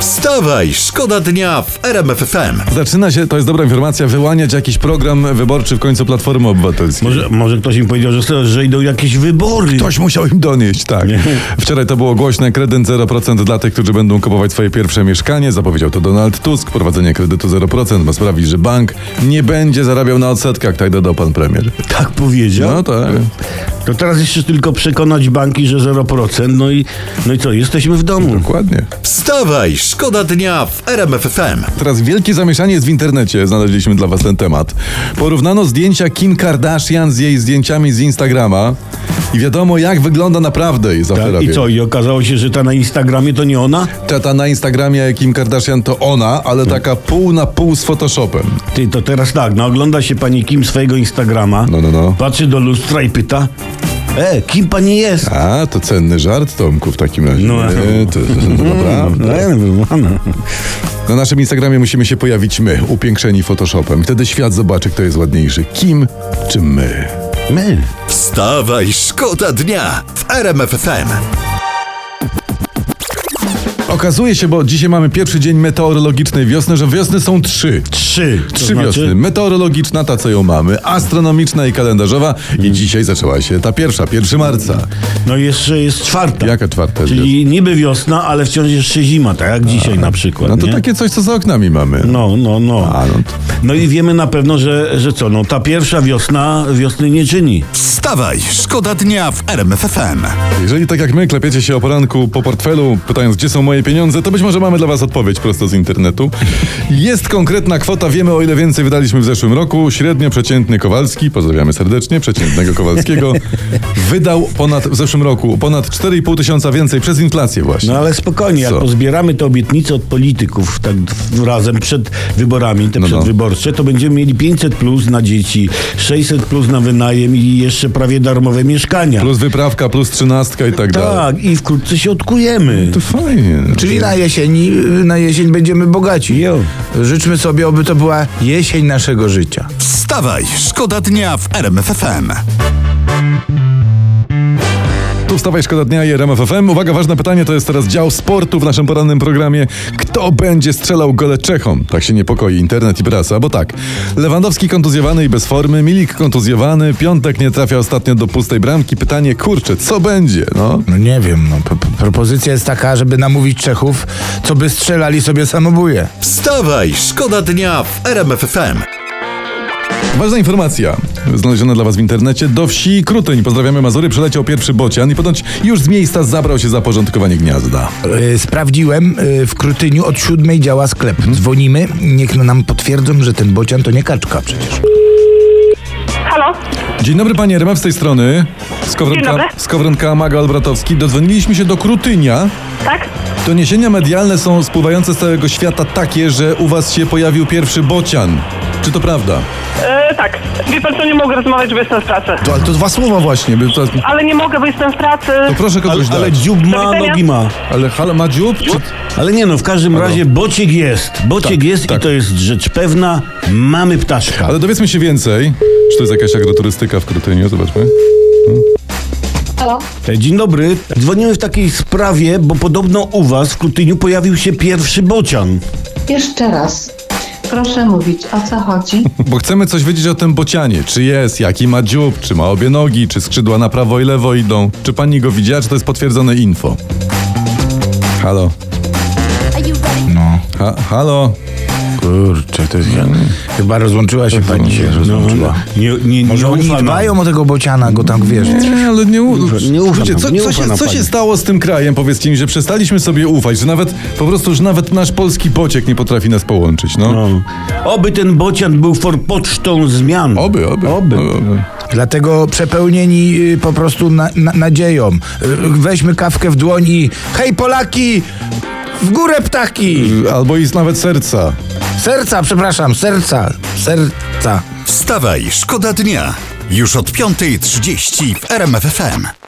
Wstawaj, szkoda dnia w RMF FM. Zaczyna się, to jest dobra informacja, wyłaniać jakiś program wyborczy w końcu Platformy Obywatelskiej. Może, może ktoś im powiedział, że, że idą jakieś wybory. Ktoś musiał im donieść, tak. Wczoraj to było głośne, kredyt 0% dla tych, którzy będą kupować swoje pierwsze mieszkanie. Zapowiedział to Donald Tusk. Prowadzenie kredytu 0% ma sprawić, że bank nie będzie zarabiał na odsetkach, tak dodał pan premier. Tak powiedział. No tak. To teraz jeszcze tylko przekonać banki, że 0%. No i, no i co, jesteśmy w domu. Dokładnie. Wstawaj, szkoda dnia w RMF FM. Teraz wielkie zamieszanie jest w internecie. Znaleźliśmy dla was ten temat. Porównano zdjęcia Kim Kardashian z jej zdjęciami z Instagrama i wiadomo, jak wygląda naprawdę jej zafera. Tak, I co, i okazało się, że ta na Instagramie to nie ona? Ta, ta na Instagramie Kim Kardashian to ona, Hmm. ale taka pół na pół z Photoshopem. Ty, to teraz tak, no ogląda się pani Kim swojego Instagrama, No, no, no. patrzy do lustra i pyta, e, kim pani jest? A, to cenny żart, Tomku, w takim razie. No. Nie, to, to naprawdę. No, ja mówię, no, no. Na naszym Instagramie musimy się pojawić my, upiększeni Photoshopem. Wtedy świat zobaczy, kto jest ładniejszy. Kim czy my? My. Wstawaj, szkoda dnia w RMF FM. Okazuje się, bo dzisiaj mamy pierwszy dzień meteorologicznej wiosny, że wiosny są trzy. Trzy. To Trzy znaczy? wiosny. Meteorologiczna, ta co ją mamy, astronomiczna i kalendarzowa. Hmm. I dzisiaj zaczęła się ta pierwsza, 1 marca. No i jeszcze jest czwarta. Jaka czwarta? jest wiosna? Czyli niby wiosna, ale wciąż jeszcze zima, tak jak dzisiaj na przykład. No to nie? takie coś, co za oknami mamy. No, no, no. A, no no, i wiemy na pewno, że, że co, no ta pierwsza wiosna wiosny nie czyni. Wstawaj, szkoda dnia w RMF FM. Jeżeli tak jak my klepiecie się o poranku po portfelu, pytając gdzie są moje pieniądze, to być może mamy dla was odpowiedź prosto z internetu. Jest konkretna kwota, wiemy o ile więcej wydaliśmy w zeszłym roku. Średnio przeciętny Kowalski, pozdrawiamy serdecznie, przeciętnego Kowalskiego, wydał ponad, w zeszłym roku ponad 4,5 tysiąca więcej przez inflację właśnie. No ale spokojnie, Co? jak pozbieramy te obietnice od polityków tak w- razem przed wyborami, te No, no. przedwyborcze, to będziemy mieli 500 plus na dzieci, 600 plus na wynajem i jeszcze prawie darmowe mieszkania. Plus wyprawka, plus trzynastka i tak dalej. tak, i wkrótce się odkujemy. To fajnie. Czyli na jesieni, na jesień będziemy bogaci. Życzmy sobie, aby to była jesień naszego życia. Wstawaj, szkoda dnia w RMF FM. Tu wstawaj szkoda dnia i RMF FM. Uwaga, ważne pytanie to jest teraz dział sportu w naszym porannym programie. Kto będzie strzelał gole Czechom? Tak się niepokoi internet i prasa, bo tak. Lewandowski kontuzjowany i bez formy, Milik kontuzjowany, Piątek nie trafia ostatnio do pustej bramki. Pytanie, kurczę, co będzie? No. No nie wiem, no, p- p- propozycja jest taka, żeby namówić Czechów, co by strzelali sobie samobóje. Wstawaj, szkoda dnia w RMF FM. Ważna informacja, znaleziona dla was w internecie. Do wsi Krutyń, pozdrawiamy Mazury, przeleciał pierwszy bocian i ponoć już z miejsca zabrał się za porządkowanie gniazda. Yy, Sprawdziłem, yy, w Krytyniu od siódmej działa sklep. Dzwonimy, niech no nam potwierdzą, że ten bocian to nie kaczka przecież. Halo? Dzień dobry panie RMF z tej strony. Skowronka, Dzień dobry. Skowronka Maga Olbratowski. Dodzwoniliśmy się do Krutynia. Tak? Doniesienia medialne są spływające z całego świata takie, że u was się pojawił pierwszy bocian. Czy to prawda? E, tak. Wie pan co, nie mogę rozmawiać, bo jestem w pracy. To, ale to dwa słowa właśnie. By to, Ale nie mogę, bo jestem w pracy. to No proszę Ale, kogoś ale dać. dziób Do ma, widzenia. nogi ma. Ale halo, ma dziób? Czy, Ale nie no, w każdym razie bociek jest. Bociek Tak, jest tak. i to jest rzecz pewna. Mamy ptaszka. ale dowiedzmy się więcej. Czy to jest jakaś agroturystyka w Krytyniu? Zobaczmy. E, Dzień dobry. Dzwoniłem w takiej sprawie, bo podobno u was w Krutyniu pojawił się pierwszy bocian. Jeszcze raz. Proszę mówić, o co chodzi? Bo chcemy coś wiedzieć o tym bocianie. Czy jest, jaki ma dziób, czy ma obie nogi, czy skrzydła na prawo i lewo idą. Czy pani go widziała, czy to jest potwierdzone info? Halo. No, Ha, halo. kurczę, to jest... Chyba rozłączyła się pani się, rozłączyła. E, Nie, nie, nie No, Może oni ufa nam. dbają o tego bociana, go tam wiesz. Nie, ale nie, u... nie ufam Ludzie, nam, co, nie co, ufam się, nam, co się panie. stało z tym krajem, powiedzcie mi, że przestaliśmy sobie ufać, że nawet po prostu, że nawet nasz polski bociek nie potrafi nas połączyć, no. No. Oby ten bocian był forpocztą zmian. Oby, oby. Oby. No, oby. Dlatego przepełnieni y, po prostu na, na, nadzieją. Y, Weźmy kawkę w dłoń i hej Polaki! W górę ptaki! Albo i z nawet serca. Serca, przepraszam, serca, serca. Wstawaj, szkoda dnia. Już od 5.30 w RMF FM.